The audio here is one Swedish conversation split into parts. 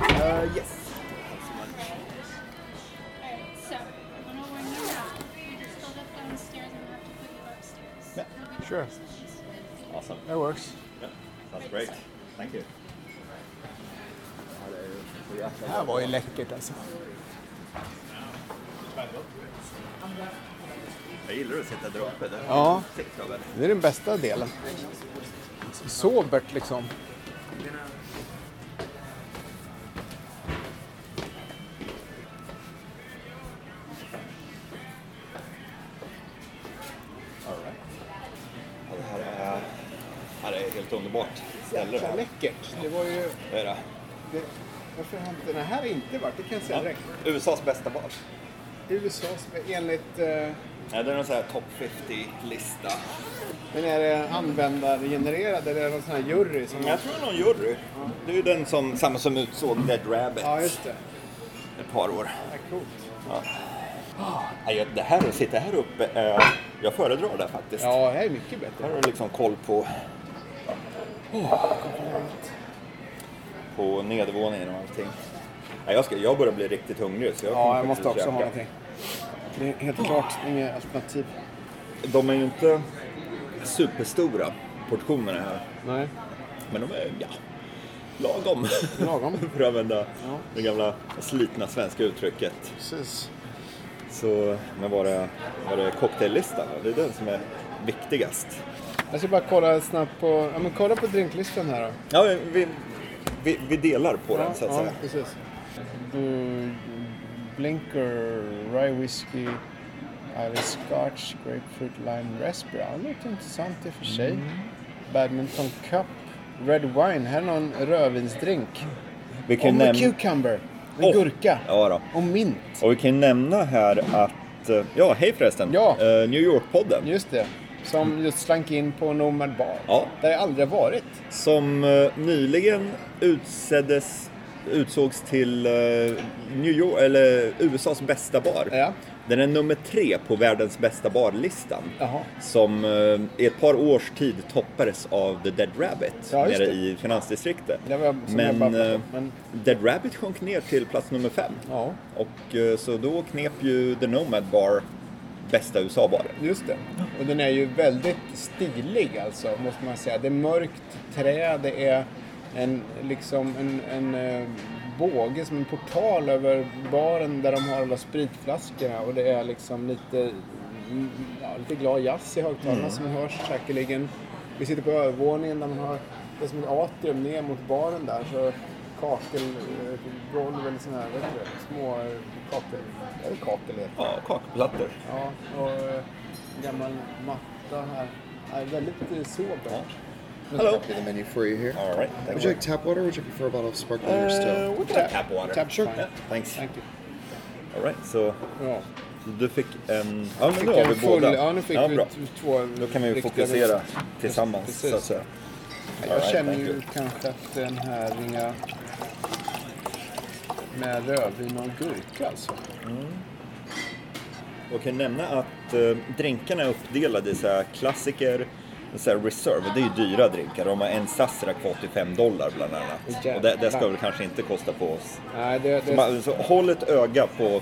Uh, yes. Alright, so, I don't know where you're at. You just go up downstairs and we have to put you upstairs. Yeah, It'll be sure. upstairs. Awesome. That works. Yeah, sounds great. Thank you. Det här var ju läckert alltså. Jag gillar att sitta där uppe. Där. Ja. Sitter jag väl. Det är den bästa delen. Sobert liksom. All right. ja, det här är, här är ett helt underbart ställe. det Jäkla här. läckert. Det var ju... Det är det. Det, varför har inte den här inte varit? Det kan jag säga direkt. USAs bästa bar. USAs enligt... Eh, Ja, det är någon sån här top 50-lista. men är det användargenererad eller är det någon sån här jury som... Jag tror det är någon jury. Det är ju den som, samma som utsåg Dead Rabbit Ja, just det. ett par år. Ja, coolt. Ja, jag- Det här, att sitta här uppe, eh, jag föredrar det faktiskt. Ja, det här är mycket bättre. Här har du liksom koll på... På nedervåningen och allting. Ja, jag, ska, jag börjar bli riktigt hungrig så jag kommer Ja, jag måste faktiskt också ha käka. någonting. Det är helt klart inget alternativ. De är ju inte superstora portionerna här. Nej. Men de är, ja, lagom. Lagom. För att använda det gamla slitna svenska uttrycket. Precis. Så, men var det, var det cocktaillistan? va? Det är den som är viktigast. Jag ska bara kolla snabbt på... Ja, men kolla på drinklistan här då. Ja, vi, vi, vi delar på den så att säga. precis. Du, blinker, rye whisky, Irish scotch, grapefruit, lime, raspberry. Ja, det låter intressant i och för sig. Mm. Badminton cup, red wine. Här är någon rödvinsdrink. Vi Och kan med näm- cucumber, med Åh, gurka ja då. och mint. Och vi kan ju nämna här att, eh, ja hej förresten, Ja. Eh, New York-podden Just det, som just slank in på Nomad Bar. Ja. Där jag aldrig har varit. som eh, nyligen utseddes, utsågs till eh, New York, eller USAs bästa bar. Ja. Den är nummer tre på världens bästa barlistan. Jaha. Som eh, i ett par års tid toppades av The Dead Rabbit Ja, just nere det. i finansdistriktet. Det var som jag men, bara- eh, men- Dead Rabbit sjönk ner till plats nummer fem. Ja. Och eh, så då knep ju The Nomad Bar bästa USA-baren. Just det. Och den är ju väldigt stilig alltså, måste man säga. Det är mörkt trä, det är en, liksom en, en eh, båge som en portal över baren där de har alla spritflaskorna och det är liksom lite, mm, ja, lite glad jazz i högtalarna som hörs säkerligen. Vi sitter på övervåningen där man har, det är som ett atrium ner mot baren där. Så kakelgolv eller sådana här, vad heter det? Små eh, kakel, är det kakel heter? Ja, kakplattor. Ja, och eh, en gammal matta här. Ja, väldigt eh, sobert. Hello. Be the menu for you here. All right. Would you like tap water or would you prefer a bottle of sparkling or Uh, still? we can have tap water. Tap, sure. Yeah, thanks. Thank you. All right, så Ja, du fick en... Ja, men fick nu har en vi full, båda. ja, nu fick vi bra. t- två Då kan vi ju riktiga- fokusera tillsammans Precis. så att säga. Jag All right, känner thank ju you. kanske att den här ringa med rödvin och gurka alltså. Och kan nämna att eh, drinkarna är uppdelade i så här klassiker, så här reserve, det är ju dyra drinkar. De har en Sazerac för 85 dollar bland annat. Jävlar. Och det, det ska väl kanske inte kosta på oss. Nej, det, Så, det man, så håll ett öga på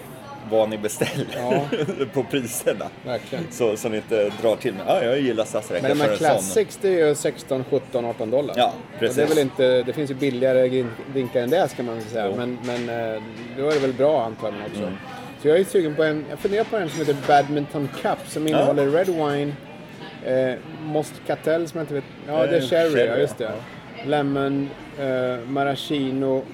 vad ni beställer, Ja. på priserna. verkligen. Så, så ni inte drar till med, ja jag gillar Sazerac. Men jag de tar här en sån." Classics, det är ju 16, 17, 18 dollar. Ja, Och precis. det, är väl inte, det finns ju billigare grin- drinkar än det ska man väl säga. Jo. Mm. Men, men eh, då är det väl bra antagligen också. Så jag är sugen på en, jag funderar på en som heter Badminton Cup som innehåller Red Wine, eh, Moscatel som jag inte vet, ja det är Eh, Sherry, sherry, ja, just det. Lemon, eh, Maraschino,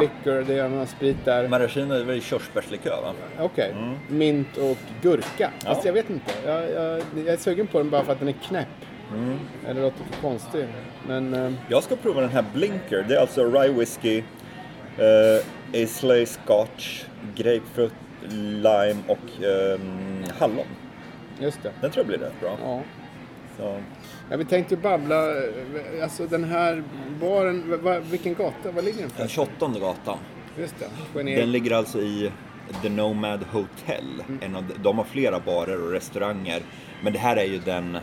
Liquor, det är någon sprit där. Maraschino är väl körsbärslikör va? Okej, mint och gurka. Fast Mm. Ja. jag vet inte. Jag, jag, jag är sugen på den bara för att den är knäpp. Mm. Eller låter för konstig. Men eh, Jag ska prova den här Blinker. Det är alltså rye whisky, eh, Islay Scotch, grapefruit, lime och ehm, hallon. Just det. Den tror jag blir rätt bra. Ja. Så, Ja, vi tänkte babbla, eh, alltså den här baren, va- va, vilken gata, var ligger den? eh, för? 28 gatan. Just det, Genier. Den ligger alltså i The Nomad Hotel. Mm. En av, de har flera barer och restauranger. Men det här är ju den,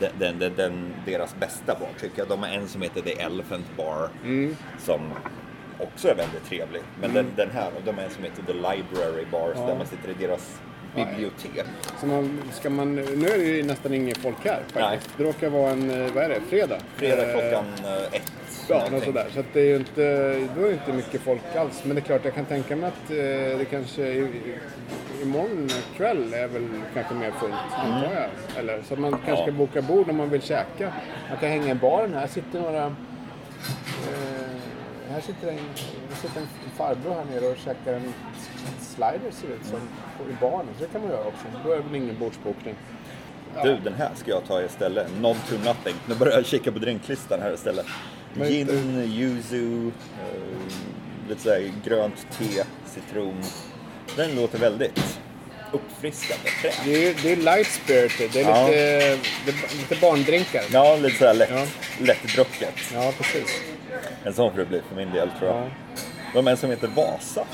den, den, den, den deras bästa bar tycker jag. De har en som heter The Elephant Bar. Mm. Som också är väldigt trevlig. Men den, den här, och de har en som heter The Library Bar. Så där man sitter i deras bibliotek. Så man, ska man, nu är det ju nästan inget folk här faktiskt. Nej. Det råkar vara en, eh, vad är det, fredag? Fredag Eh, klockan eh, ett. Ja, något någonting. sådär. Så att det är ju inte, då är det inte mycket folk alls. Men det är klart, jag kan tänka mig att eh, det kanske i, i, imorgon kväll är väl kanske mer fullt, Mm. antar jag. Eller, så att man kanske ska boka bord om man vill käka. Man kan hänga i baren. Här sitter några... Eh, här sitter en, det sitter en farbror här nere och käkar en slider ser det ut som, på- i baren. Så det kan man göra också. Då är det väl ingen bordsbokning. Du, den här ska jag ta istället. Non to nothing. Nu börjar jag kika på drinklistan här istället. Vad heter- Gin, yuzu, eh, lite sådär grönt te, citron. Den låter väldigt uppfriskande. fräsch. Det är, ju- det är light spirited. Det är Ja. lite, det är lite barndrinkar. Ja, lite sådär lätt, Ja. lättdrucket. Ja, precis. En sån får det bli för min del tror jag. Ja. De är en som heter Vasa.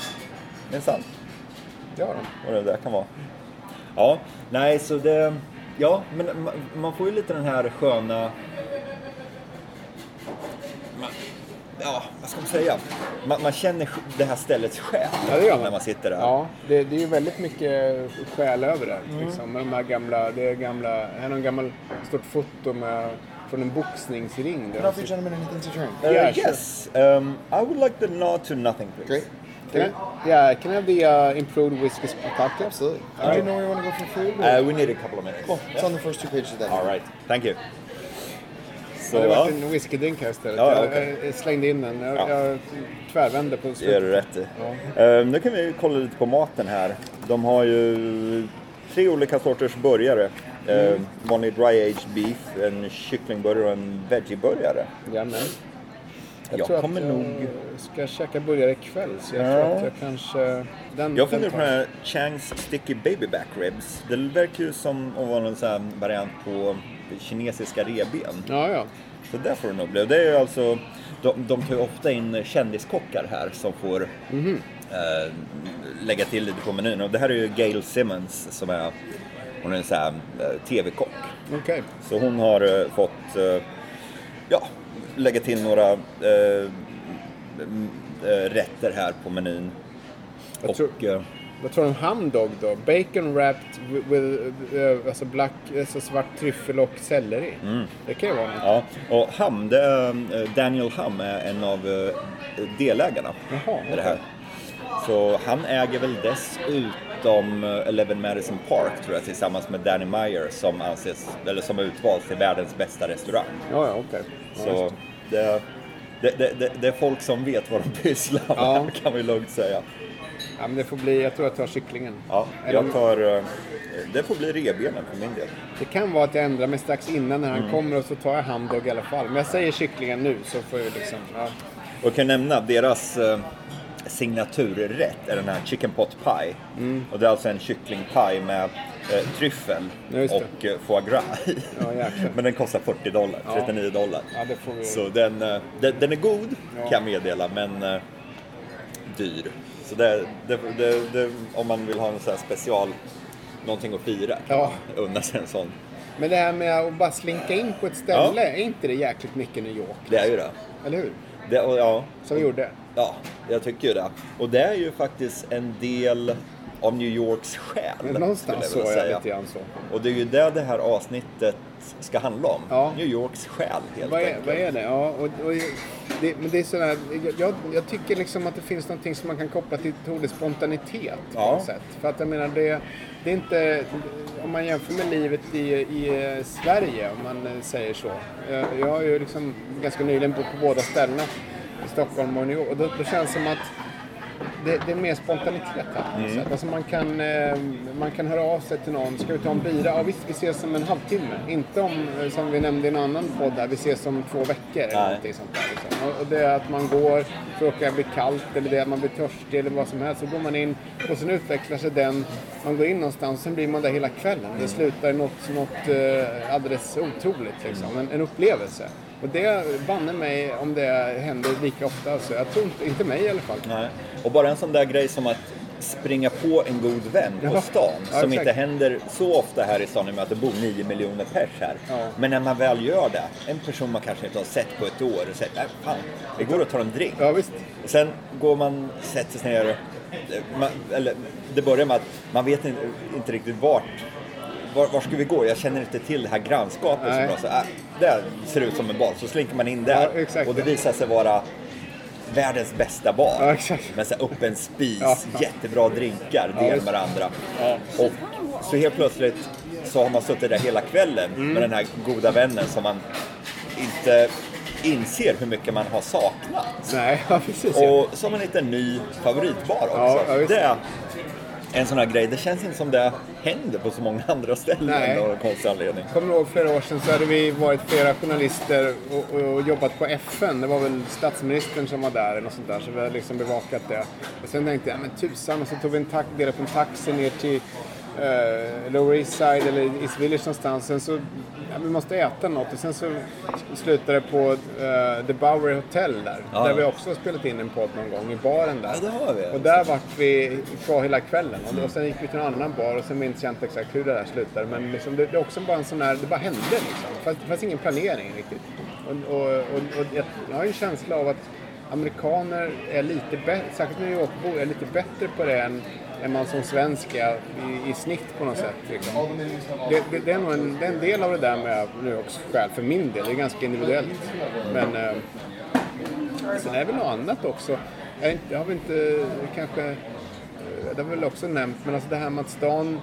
Det är sant. Det har de. vad det där kan vara. Ja, nej så det... Ja, men ma- man får ju lite den här sköna... Man, ja, vad ska man säga? Man, man känner sj- det här ställets själ Ja, det gör man. när man sitter där. Ja, det, det är ju väldigt mycket själ över det. Liksom, med de här gamla, det är gamla, här är någon gammal stort foto med, från en boxningsring. Där Enough, you gentlemen, anything to drink? Uh, Yeah, sure. yes, um, I would like the nod to nothing please. Great. Can I, yeah, can I have the uh, improved whiskey cocktail? Absolutely. Do Alright. you know where you want to go for food? Uh, we need a couple of minutes. Cool. It's on the first two pages of that. All right, thank you. Så, Det ja, var en whiskydrink här istället. Ja, jag, okej. jag slände in den. Jag, Ja. jag tvärvände på det gör du slutet. rätt i. Eh, nu kan vi kolla lite på maten här. De har ju tre olika sorters burgare. Eh, Mm. vanlig dry aged beef, en kycklingburgare och en veggieburgare. Jajamän. Jag, Jag tror att eh, kommer jag nog- ska käka burgare ikväll så jag Ja. tror att jag kanske... Den, Jag funderar på tar den här Changs Sticky Baby Back Ribs. Det verkar ju som att vara någon sån här variant på kinesiska revben. Ja, ja. Så där får det nog bli. Och Det är ju alltså, de, de tar ju ofta in kändiskockar här som får Mhm. eh, lägga till lite på menyn. Och det här är ju Gail Simmons som är, hon är en sån här eh, TV-kock. Okej. Så hon har eh, fått, eh, ja, lägga till några eh, m- eh, rätter här på menyn. Jag Och, tror- eh, Vad tror du om hamdog då? Bacon wrapped with, with eh, alltså black, alltså svart tryffel och selleri. Mm. Det kan ju vara något. Ja, och Ham, det är, eh, Daniel Ham är en av eh, delägarna Jaha, i det här. Så han äger väl dessutom eh, Eleven Madison Park tror jag tillsammans med Danny Meyer som anses, eller som är utvald till världens bästa restaurang. Ja, ja, okej. Ja, Så det, det, det, det, det är folk som vet vad de pysslar med Ja. kan vi lugnt säga. just- ja, men det får bli, jag tror jag tar kycklingen. Ja, Eller, jag tar, eh, det får bli revbenen för min del. Det kan vara att jag ändrar mig strax innan när han Mm. kommer och så tar jag hamdog i alla fall. Men jag säger kycklingen nu så får jag liksom, ja. Och jag kan nämna att deras eh, signaturrätt är den här chicken pot pie. Mm. Och det är alltså en kycklingpaj med eh, tryffel Ja, just det. och eh, foie gras i. Ja, jäklar. Men den kostar 40 dollar, 39 dollar. Ja, det får vi- Så den, eh, den, den är god Ja. kan jag meddela, men eh, dyr. Så det, det, det, det, om man vill ha en sån här special, någonting att fira, kan Ja. man unna sig en sån. Men det här med att bara slinka in på ett ställe, är inte det jäkligt mycket New York? Det är ju det. Eller hur? det och, ja, Som vi gjorde. Ja, jag tycker ju det. Och det är ju faktiskt en del av New Yorks själ. skulle Någonstans så vilja är säga. jag lite grann så. Och det är ju det det här avsnittet ska handla om. Ja. New Yorks själ helt Vad är, enkelt. vad är det? Ja, och, och det, men det är sådär, jag, jag tycker liksom att det finns någonting som man kan koppla till ordet spontanitet på Ja. något sätt. För att jag menar, det, det är inte, om man jämför med livet i, i eh, Sverige, om man eh, säger så. Jag, jag har ju liksom ganska nyligen bott på båda ställena, i Stockholm och New York, och då, då känns det som att det, det är mer spontanitet här. Mm. på något sätt. Alltså man, kan, eh, man kan höra av sig till någon. Ska vi ta en bira? Ja visst, vi ses om en halvtimme. Inte om, eh, som vi nämnde i en annan podd där, vi ses om två veckor. Eller Nej. någonting sånt där, liksom. och, och det är att man går för att det blir kallt eller det är att man blir törstig eller vad som helst. Så går man in och sen utvecklar sig den. Man går in någonstans sen blir man där hela kvällen. Mm. Det slutar i något, något eh, alldeles otroligt. Mm. Liksom. En, en upplevelse. Och det banne mig om det händer lika ofta. Så jag tror inte, inte mig i alla fall. Nej. Och bara en sån där grej som att springa på en god vän Ja. på stan Ja, som exakt. inte händer så ofta här i stan i och med att det bor 9 miljoner pers här. Ja. Men när man väl gör det, en person man kanske inte har sett på ett år och säger "Nej, fan, vi går och tar en drink. Ja, visst. Och sen går man, sätter sig ner, man, eller det börjar med att man vet inte, inte riktigt vart var, var ska vi gå? Jag känner inte till det här grannskapet Nej. så bra. Så, äh, där ser det ut som en bar. Så slinker man in där Ja, exakt. och det visar sig vara världens bästa bar. Ja, exakt. Med så här öppen spis, Ja. jättebra drinkar, Ja, delar visst. med varandra. Och så helt plötsligt så har man suttit där hela kvällen Mm. med den här goda vännen som man inte inser hur mycket man har saknat. Nej, ja, precis. ja. Och som en liten ny favoritbar också. Ja, ja, visst. det är en sån här grej. Det känns inte som det händer på så många andra ställen Nej. av någon konstig anledning. Jag kommer ihåg flera år sedan så hade vi varit flera journalister och, och, och jobbat på FN. Det var väl statsministern som var där eller något sånt där. Så vi hade liksom bevakat det. Och sen tänkte jag, ja, men tusan. Och så tog vi en tax, delade på en taxi ner till eh, Lower East Side eller East Village någonstans. Sen så, ja, vi måste äta något. Och sen så slutade det på eh, The Bowery Hotel där. Ja. Där vi också har spelat in en podd någon gång i baren där. Ja, det har vi. Och där vart vi kvar hela kvällen. Och då- Och sen gick vi till en annan bar och sen minns jag inte exakt hur det där slutade. Men liksom, det, det är också bara en sån där, det bara hände liksom. Fast, det fanns ingen planering riktigt. Och, och, och, och jag, jag har ju en känsla av att amerikaner är lite bättre, särskilt New Yorkbor, är lite bättre på det än, än man som svensk är i, i snitt på något sätt. Liksom. Det, det, det, är nog en, det är en del av det där med New Yorks själ för min del. Det är ganska individuellt. Men... Eh, Sen är det väl något annat också. Jag, har inte- jag har väl inte kanske, eh, det har vi väl också nämnt, men alltså det här med att stan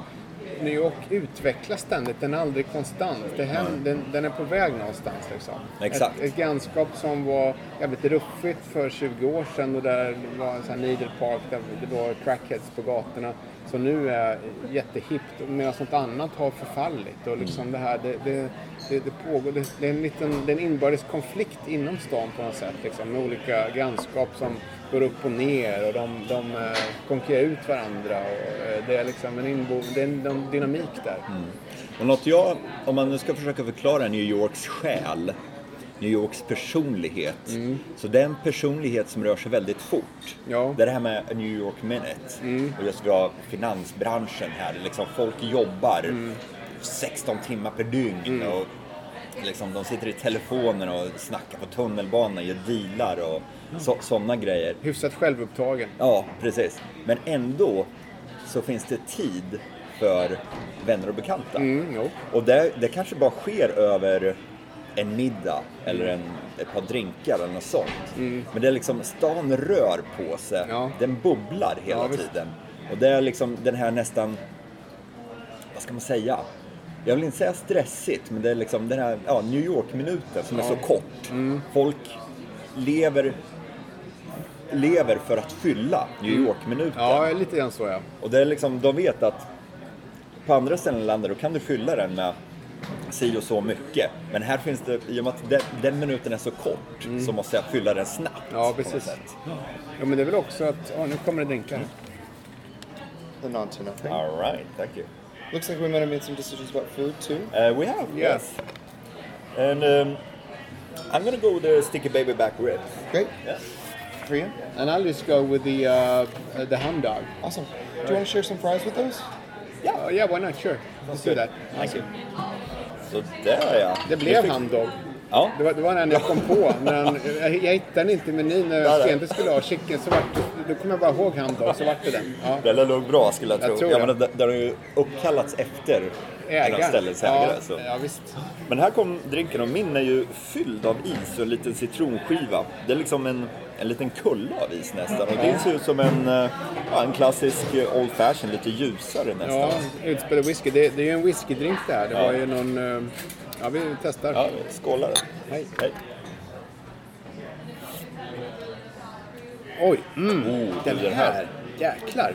New York utvecklas ständigt, den är aldrig konstant. Det händer, den, den är på väg någonstans. Liksom. Exakt. Ett, ett grannskap som var jävligt ruffigt för 20 år sedan och där det var en sån här Needle Park där det var crackheads på gatorna som nu är jättehippt medan något annat har förfallit. Och liksom det, här, det, det, det, det pågår, det, det är en liten det är en inbördes konflikt inom stan på något sätt liksom, med olika grannskap som går upp och ner och de, de eh, konkurrerar ut varandra. Och eh, det är liksom en, inbo, det är en, en dynamik där. Och något jag, om man nu ska försöka förklara New Yorks själ, New Yorks personlighet. Så det är en personlighet som rör sig väldigt fort. Mm. Ja. Mm. Det är det här med a New York minute. Och just vi har finansbranschen här. Liksom folk jobbar Mm. 16 timmar per dygn. Och liksom, de sitter i telefonen och snackar på tunnelbanan, gör dealar och så, sådana grejer. Hyfsat självupptagen. Ja, precis. Men ändå så finns det tid för vänner och bekanta. Mm, jo. Och det, det kanske bara sker över en middag eller en, ett par drinkar eller något sånt. Men det är liksom, stan rör på sig. Mm. Ja. Den bubblar hela Ja, visst. tiden. Och det är liksom den här nästan, vad ska man säga? Jag vill inte säga stressigt, men det är liksom den här ja, New York-minuten som är så kort. Mm. Folk lever, lever för att fylla New York-minuten. Mm. Ja, lite grann så ja. Och det är liksom, de vet att på andra ställen i landet då kan du fylla den med si och så mycket. Men här finns det, i och med att den, den minuten är så kort, så måste jag fylla den snabbt. Mm. Ja, på precis. något sätt. Ja, men det är väl också att, ja nu kommer det drinkar. And on to nothing. All right, thank you. Looks like we might have made some decisions about food too. Uh, we have, yes. Yes. And um, I'm gonna go with the sticky baby back ribs. Great. Yes. For you. And I'll just go with the, uh, uh, the ham dog. Awesome. Do you want to share some fries with those? Yeah, uh, yeah, why not? Sure. Let's do that. Thank you. Så där ja. Det Vi blev fick- ham dog. Ja. Det var, det var den jag kom på. När han, jag, jag hittade den inte i menyn när Nej, jag nej. senare skulle ha chicken. Så vart, då kommer jag bara ihåg ham dog, så vart det den. Ja. Det där låg bra skulle jag tro. Jag tror ja, det. men det, det har ju uppkallats efter den här ställets ägare. Ja, Så. ja, visst. Men här kom drinken och min är ju fylld av is och en liten citronskiva. Det är liksom en, en liten kulle av is nästan. Och det ser ut som en, eh, ja, en klassisk eh, Old Fashion, lite ljusare nästan. Ja, utspelad whisky. Det, det är ju en whiskydrink det här. Det var ju någon... eh, Ja, vi testar. Ja, skålar. Hej. Hej. Oj, mm, Oh, den du, den här. här. Jäklar.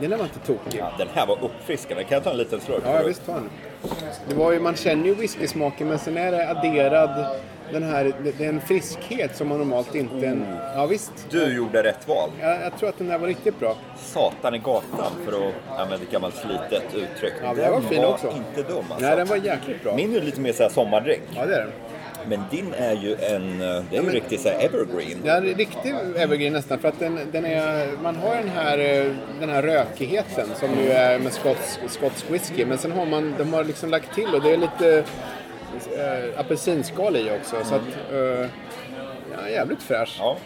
Den där var inte tokig. Ja, den här var uppfriskande. Kan jag ta en liten slurk? Ja, ja visst fan. Det var ju, man känner ju whiskysmaken men sen är det adderad den här, det- det är en friskhet som man normalt inte... En, Mm. ja visst. Du gjorde rätt val. Jag, jag tror att den där var riktigt bra. Satan i gatan, för att använda ett gammalt slitet uttryck. Ja, den var fin också. inte dum alltså. Nej, den var jäkligt bra. Min är lite mer så här sommardrink. Ja, det är den. Men din är ju en... eh, Det är ju riktigt så här evergreen. Det är en riktig evergreen nästan för att den, den är, man har den här, eh, den här rökigheten som ju är med skotsk, skotsk whisky men sen har man, de har liksom lagt till och det är lite äh, apelsinskal i också så att, eh, ja, jävligt fräsch. Ja,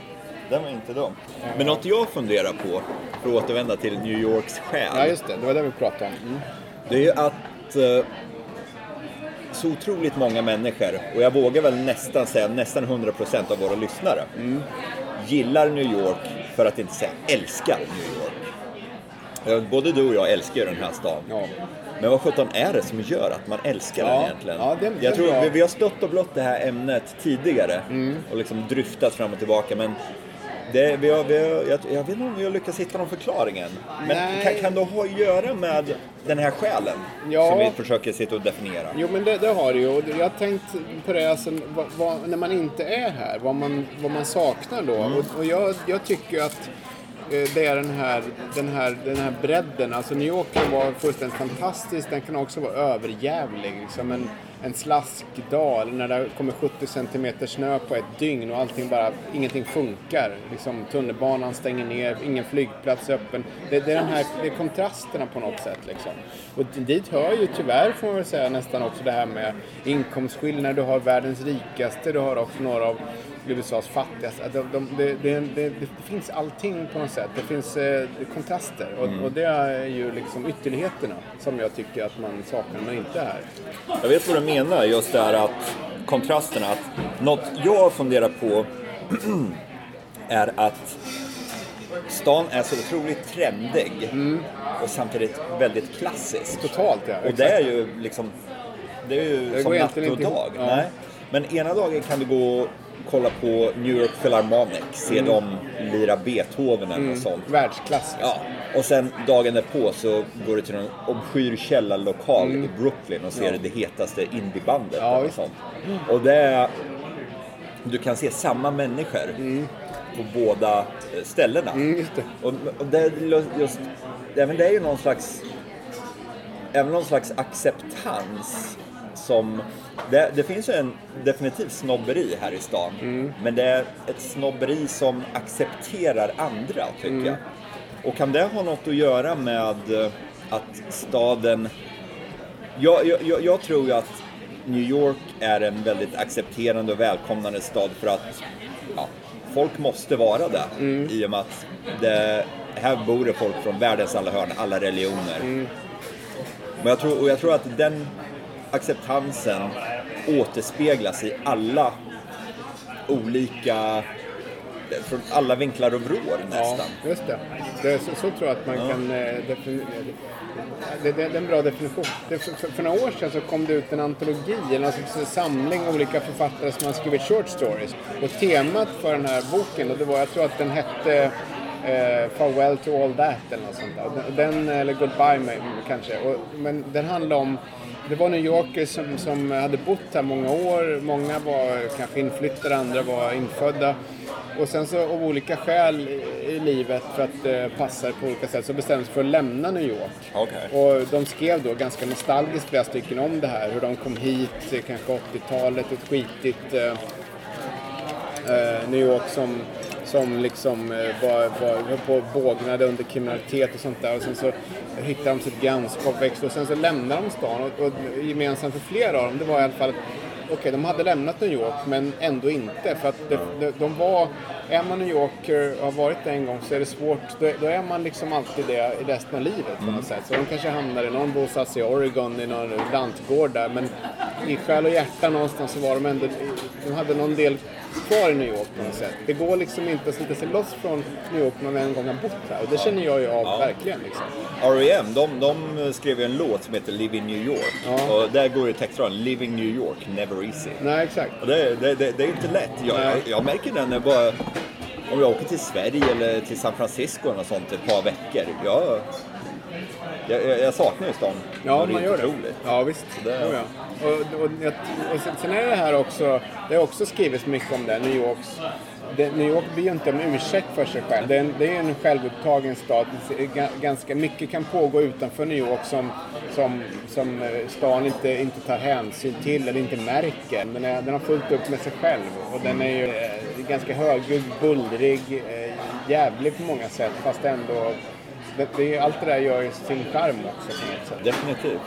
den var inte dum. Men något jag funderar på, för att återvända till New Yorks själ, Ja just det, det var det vi pratade om. Mm. det är ju att eh, så otroligt många människor, och jag vågar väl nästan säga nästan 100% av våra lyssnare, gillar New York för att inte säga älskar New York. Eh, Både du och jag älskar ju den här stan. Ja. Men vad sjutton är det som gör att man älskar den Ja, egentligen? ja, det- det är jag tror bra. Mm. vi, vi har stött och blött det här ämnet tidigare och liksom dryftat fram och tillbaka. Men det, vi har, vi har, jag, jag vet inte om vi har lyckats hitta någon förklaring än. Men Nej. kan, kan det ha att göra med den här själen Ja. som vi försöker sitta och definiera? Jo men det, det har det ju och jag har tänkt på det alltså, vad, vad, när man inte är här, vad man, vad man saknar då. Och, och jag, jag tycker ju att eh, det är den här, den, här, den här bredden. Alltså New York kan vara fullständigt fantastisk, den kan också vara överjävlig. Liksom en, en slaskdag eller när det kommer 70 centimeter snö på ett dygn och allting bara, ingenting funkar. Liksom, tunnelbanan stänger ner, ingen flygplats är öppen. Det, det är den här det är kontrasterna på något sätt. Liksom. Och dit hör ju tyvärr, får man väl säga, nästan också det här med inkomstskillnader. Du har världens rikaste, du har också några av USAs fattigaste. De, de, det- det- det, det finns allting på något sätt. Det finns eh, kontraster och, och det är ju liksom ytterligheterna som jag tycker att man saknar när man inte är här. Jag vet vad du menar, just det här att kontrasterna. Att något jag funderar på är att stan är så otroligt trendig och samtidigt väldigt klassisk. Mm. Totalt ja. Och det är ju liksom, det är ju Det som går natt egentligen och inte ihop. dag. Ja. Nej. Men ena dagen kan du gå och kolla på New York Philharmonic, se Mm. dem lira Beethoven eller något sånt. Världsklass. Ja, och sen dagen därpå så går du till någon obskyr källarlokal i Brooklyn och ser det hetaste indiebandet. Ja, eller visst. sånt. Och det är, du kan se samma människor på båda eh, ställena. Mm. just det. Och, och det, är lo- just, även det är ju någon slags, även någon slags acceptans som det, det finns ju en definitiv snobberi här i stan. Mm. Men det är ett snobberi som accepterar andra, tycker Mm. jag. Och kan det ha något att göra med eh, att staden... Jag, jag, jag, jag tror ju att New York är en väldigt accepterande och välkomnande stad för att ja, folk måste vara där. I och med att det, här bor det folk från världens alla hörn, alla religioner. Men jag tror, och jag tror att den acceptansen återspeglas i alla olika, från alla vinklar och vrår nästan. Ja, just det. det är så, så tror jag att man kan eh, definiera det. Det, det. Det är en bra definition. Det, för, för, för några år sedan så kom det ut en antologi, eller en sorts samling olika författare som har skrivit short stories. Och temat för den här boken, och det var, jag tror att den hette eh, Farewell to all that eller något sånt där. Och Den, eller Goodbye maybe, kanske. Och, men den handlar om det var New Yorkers som, som hade bott här många år. Många var kanske inflyttade, andra var infödda. Och sen så av olika skäl i- i livet för att eh, passa det på olika sätt så bestämde de sig för att lämna New York. Okej. Och de skrev då ganska nostalgiskt flera stycken om det här. Hur de kom hit, eh, kanske 80-talet, ett skitigt eh, eh, New York som, som liksom eh, var, var, höll på och bågnade under kriminalitet och sånt där. Och sen så hittade de sitt grannskap, växte och sen så lämnade de stan. Och, och gemensamt för flera av dem, det var i alla fall att Okej, de hade lämnat New York, men ändå inte. För att de, de, de var... Är man New Yorker och har varit det en gång så är det svårt. Då, då är man liksom alltid det i resten av livet på något sätt. Så de kanske hamnar i någon bosatt i Oregon i någon lantgård där. Men i själ och hjärta någonstans så var de ändå... De hade någon del kvar i New York på något sätt. Det går liksom inte att slita sig loss från New York när man en gång har bott här. Och det känner jag ju av verkligen. Liksom. R.E.M. De, de skrev ju en låt som heter Live in New York. Ja. Och där går ju textraden Living New York, never easy. Nej, exakt. Och det, det, det, det är inte lätt. Jag, Nej. jag, jag märker det när jag bara om jag åker till Sverige eller till San Francisco eller något sånt ett par veckor. Jag, jag, jag, jag saknar ju stan. Ja, är man gör det. otroligt. Ja, visst. Så det- Jo, ja. Och, och, jag- och sen, sen är det här också, det har också skrivits mycket om det, New Yorks det, New York ber ju inte om ursäkt för sig själv. Det är en, det är en självupptagen stad. Det är ga- Ganska mycket kan pågå utanför New York som, som, som eh, stan inte, inte tar hänsyn till eller inte märker. Den, är, den har fullt upp med sig själv och den är ju eh, ganska högljudd, bullrig, eh, jävlig på många sätt fast ändå det, det, allt det där gör ju sin charm också på något sätt. Definitivt.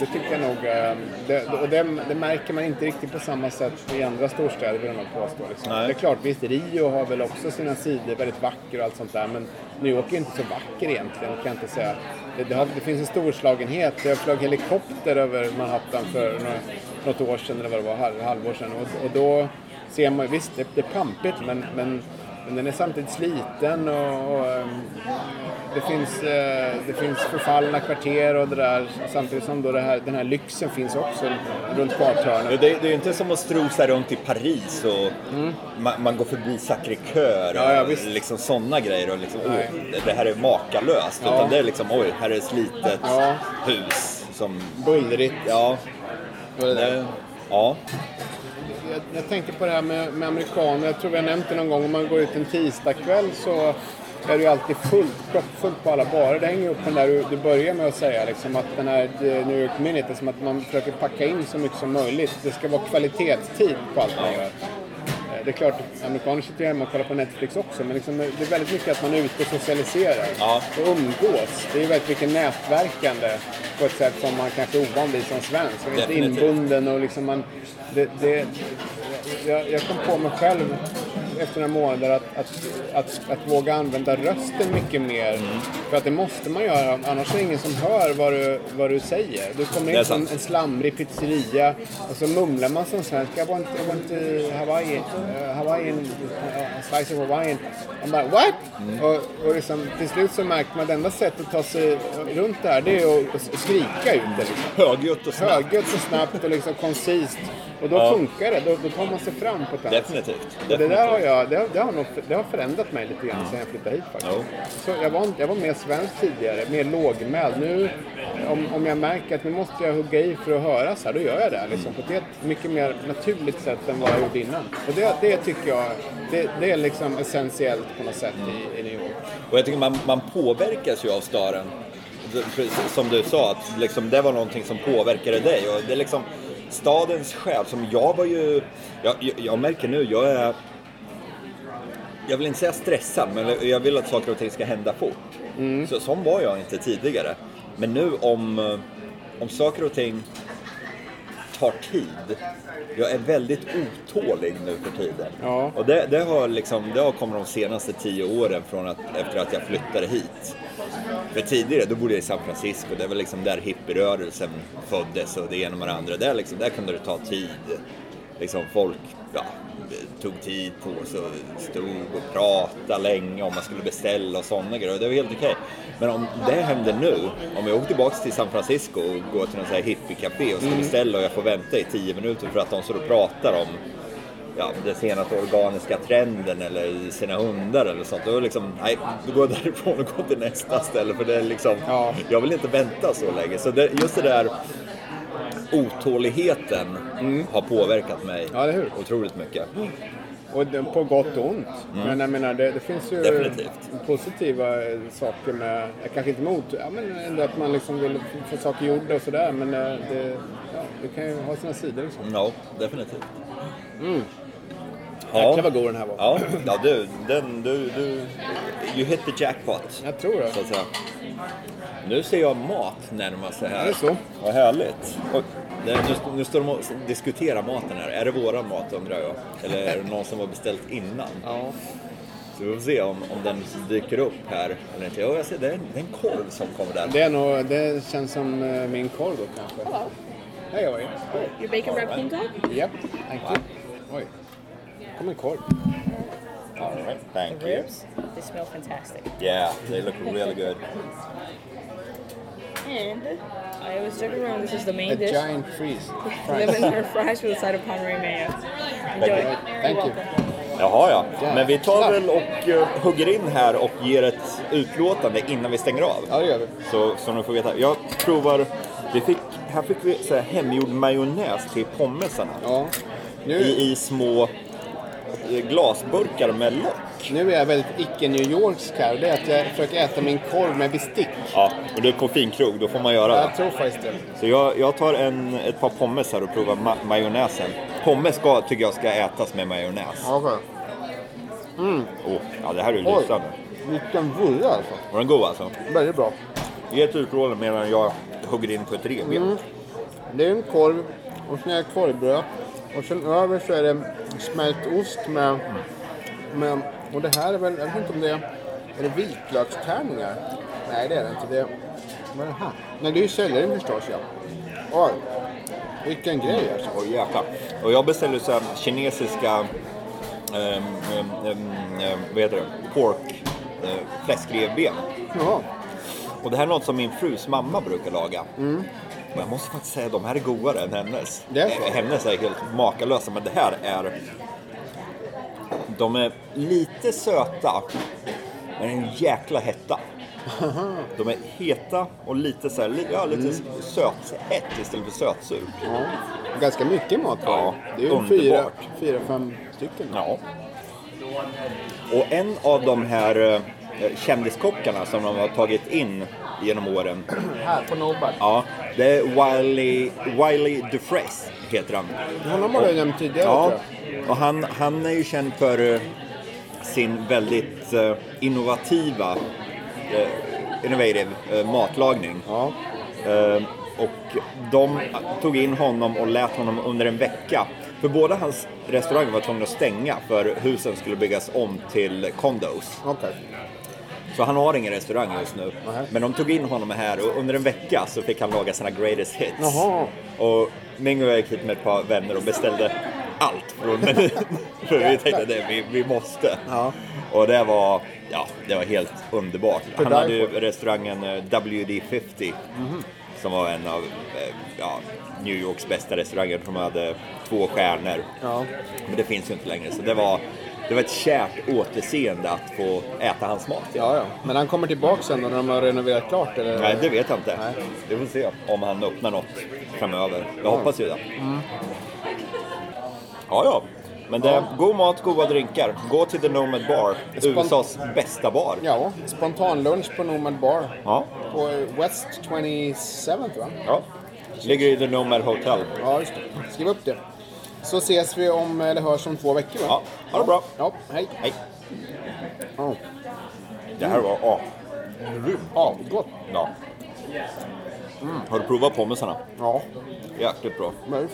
Det tycker jag nog. eh, Det, och det, det märker man inte riktigt på samma sätt i andra storstäder vill jag nog påstå. Liksom. Det Nej. är klart, visst Rio har väl också sina sidor, väldigt vacker och allt sånt där. Men New York är inte så vacker egentligen, kan jag inte säga. Det, det, har, det finns en storslagenhet. Jag flög helikopter över Manhattan för några, något år sedan, eller vad det var, halv, halvår sedan. Och, och då ser man, visst det, det är pampigt, men, men, men den är samtidigt sliten och, och eh, det finns, eh, det finns förfallna kvarter och det där samtidigt som då det här, den här lyxen finns också runt Det, gathörnet. det är ju inte som att strosa runt i Paris och man, man går förbi Sacré-Cœur Ja, ja, och visst. liksom sådana grejer. Och liksom, Nej. "Åh, det- det här är makalöst. Ja. Utan det är liksom, oj, här är ett slitet Ja. hus. Som, Bullrigt. ja, och det där. det, ja, jag, jag tänkte på det här med, med amerikaner. Jag tror vi har nämnt det någon gång. Om man går ut en tisdagkväll så är det ju alltid fullt, proppfullt på alla barer. Det hänger upp på den där du, du börjar med att säga. Liksom, att den här eh, New York Minute, det är som att man försöker packa in så mycket som möjligt. Det ska vara kvalitetstid på allt man gör. Eh, Det är klart, amerikaner sitter ju hemma och kollar på Netflix också, men liksom, det är väldigt mycket att man är ute och socialiserar Ja. och umgås. Det är ju väldigt mycket nätverkande på ett sätt som man kanske är ovan vid som svensk. Man är inte Definitivt. inbunden den och liksom man... Det, det, jag, jag kom på mig själv efter några månader att, att, att, att våga använda rösten mycket mer. Mm. För att det måste man göra, annars är det ingen som hör vad du, vad du säger. Du kommer Det är in på en, sant. en slamrig pizzeria och så mumlar man som svensk. I want, I want uh, Hawaii, uh, Hawaiian, uh, a slice of Hawaiian. Man bara what? Mm. Och, och liksom, till slut så märker man att enda sättet att ta sig runt det här det är att, att skrika ut det. Liksom högljutt och snabbt. högljutt så snabbt och liksom koncist. Och då Ja. funkar det. Då, då tar man sig fram på ett annat sätt. Definitivt. Och Det där har, Definitivt. Mm. jag, det, har, det, har nog, det har förändrat mig lite grann sen jag flyttade hit faktiskt. Jo. Så jag, var, inte- jag var mer svensk tidigare, mer lågmäld. Nu om, om jag märker att nu måste jag hugga i för att höras här, då gör jag det. Mm. Liksom, på ett mycket mer naturligt sätt än vad jag gjorde innan. Och det, det tycker jag, det, det är liksom essentiellt på något sätt i, i New York. Och jag tycker man, man påverkas ju av staden. Som du sa, att liksom, det var någonting som påverkade dig. Och det är liksom stadens själ. Som jag var ju... Jag, jag, jag märker nu, jag är... Jag vill inte säga stressad, men jag vill att saker och ting ska hända fort. Så, som var jag inte tidigare. Men nu om, eh, om saker och ting tar tid. Jag är väldigt otålig nu för tiden. Ja. Och det, det, har liksom, det har kommit de senaste tio åren från att, efter att jag flyttade hit. För tidigare, då bodde jag i San Francisco. Det var liksom där hippierörelsen föddes och det ena med det andra. Där, liksom, där kunde det ta tid. Liksom folk ja, tog tid på sig och stod och pratade länge om man skulle beställa och sådana grejer. Och Det var helt okej. Men om det händer nu, om jag åker tillbaka till San Francisco och går till någon sån här hippiecafé och ska beställa och jag får vänta i tio minuter för att de står och pratar om ja, den senaste organiska trenden eller sina hundar eller sånt. Då, är det liksom, nej, då går jag därifrån och går till nästa ställe för det är liksom, Ja. jag vill inte vänta så länge. Så det, just det där otåligheten har påverkat mig Mm. Ja, eller hur? otroligt mycket. Mm, Och det- på gott och ont. Men jag menar, det, det finns ju Definitivt. positiva eh, saker med, eh, kanske inte mot, ja, men ändå att man liksom vill f- få saker gjorda och sådär. Men eh, det, ja, det kan ju ha sina sidor liksom. Ja, definitivt. Mm. Jäklar vad god den här var. Ja, ja du, den, du, du, you hit the jackpot. Jag tror det. Så att säga. Nu ser jag mat närma sig här. Är det så? Vad härligt. Oj, det, nu, nu står de och diskuterar maten här. Är det våran mat undrar jag? Eller är det någon som har beställt innan? Ja. Så vi får se om, om den dyker upp här eller inte. Ja, jag ser, det är en, det är en korv som kommer där. Det, är nog, det känns som eh, min korv då kanske. Hello. Hej oj. You're baking raccoon dog? Japp, thank you. Oj. kom en korv. All right, thank The you. ribs? They smell fantastic. Yeah, they look really good. And I always joke around this is the A main dish. giant freeze. Lemon herb fries with a side of Panray mayo. Enjoy. you. Thank you. welcome. Jaha, ja. Men vi tar väl och eh, hugger in här och ger ett utlåtande innan vi stänger av. Ja, det gör vi. Så, så ni får veta. Jag provar... Vi fick, här fick vi så här hemgjord majonnäs till pommesarna. Ja. Nu, I, I små eh, glasburkar med lock. nu är jag väldigt icke-New Yorksk här. Det är att jag försöker äta min korv med bestick. Ja, men du är på finkrog, då får man göra det. Jag tror faktiskt det. Så jag, jag tar en, ett par pommes här och provar ma- majonnäsen. Pommes ska, tycker jag ska ätas med majonnäs. Okej. Åh, ja, det här är ju Oj. lysande. Vilken vurra alltså. Var den god alltså? Väldigt bra. Ge ett utlåtande medan jag hugger in på ett revben. Det är en korv och sen är det korvbröd. Och sen över så är det smält ost med... med och det här är väl, jag vet inte om det är... Är det vitlökstärningar? Nej det är det inte. Det är, vad är det här? Nej det är ju sellerin förstås ja. Oj, vilken grej alltså. Oj jäklar. Och jag beställer så här kinesiska, ehm, ehm, ehm, ehm, vad heter det, pork, eh, fläskrevben. Ja. Och det här är något som min frus mamma brukar laga. Och jag måste faktiskt säga, de här är godare än hennes. Mm. Det är så? Eh, Hennes är helt makalösa, men det här är... De är lite söta, men en jäkla hetta. De är heta och lite så här, li- ja, lite Mm. söthett istället för sötsur. ja. Ganska mycket mat var Ja, det. Det är ju fyra, underbart. fyra, fem stycken. Ja. Och en av de här eh, kändiskockarna som de har tagit in genom åren. Här på Nobad. Ja, det är Wiley, Wiley DeFress heter han. Honom har du nämnt tidigare Ja, tror och han, han är ju känd för eh, sin väldigt eh, innovativa eh, innovative eh, matlagning. jag. Ja. Eh, och de tog in honom och lät honom under en vecka. För båda hans restauranger var tvungna att stänga för husen skulle byggas om till condos. Okej. Så han har ingen restaurang just nu. Nej. Men de tog in honom här och under en vecka så fick han laga sina greatest hits. Jaha. Och Mingo och jag gick hit med ett par vänner och beställde allt från menyn. För vi tänkte att vi, vi måste. Ja. Och det var, ja, det var helt underbart. Han die hade ju restaurangen eh, WD50 Mhm. som var en av eh, ja, New Yorks bästa restauranger. De hade två stjärnor. Ja. Men det finns ju inte längre. Så det var, det var ett kärt återseende att få äta hans mat. Ja, ja. Men han kommer tillbaka sen då när de har renoverat klart? Eller? Nej, det vet jag inte. Nej. Vi får se om han öppnar något framöver. Jag hoppas ju det. Ja, ja. Men det är god mat, goda drinkar. Gå till The Nomad Bar, USAs bästa bar. Ja, spontanlunch på Nomad Bar. Ja. På West 27 va? ja. Ligger i The Nomad Hotel. Ja, just det. Skriv upp det. Så ses vi om, eller hörs om två veckor va? Ja, ha det bra. Ja, hej. Hej. Ja, Det här var ah, ja gott. ja. Har du provat pommesarna? Ja, Jäkligt bra. men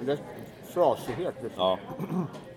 det är frasighet. liksom. Ja.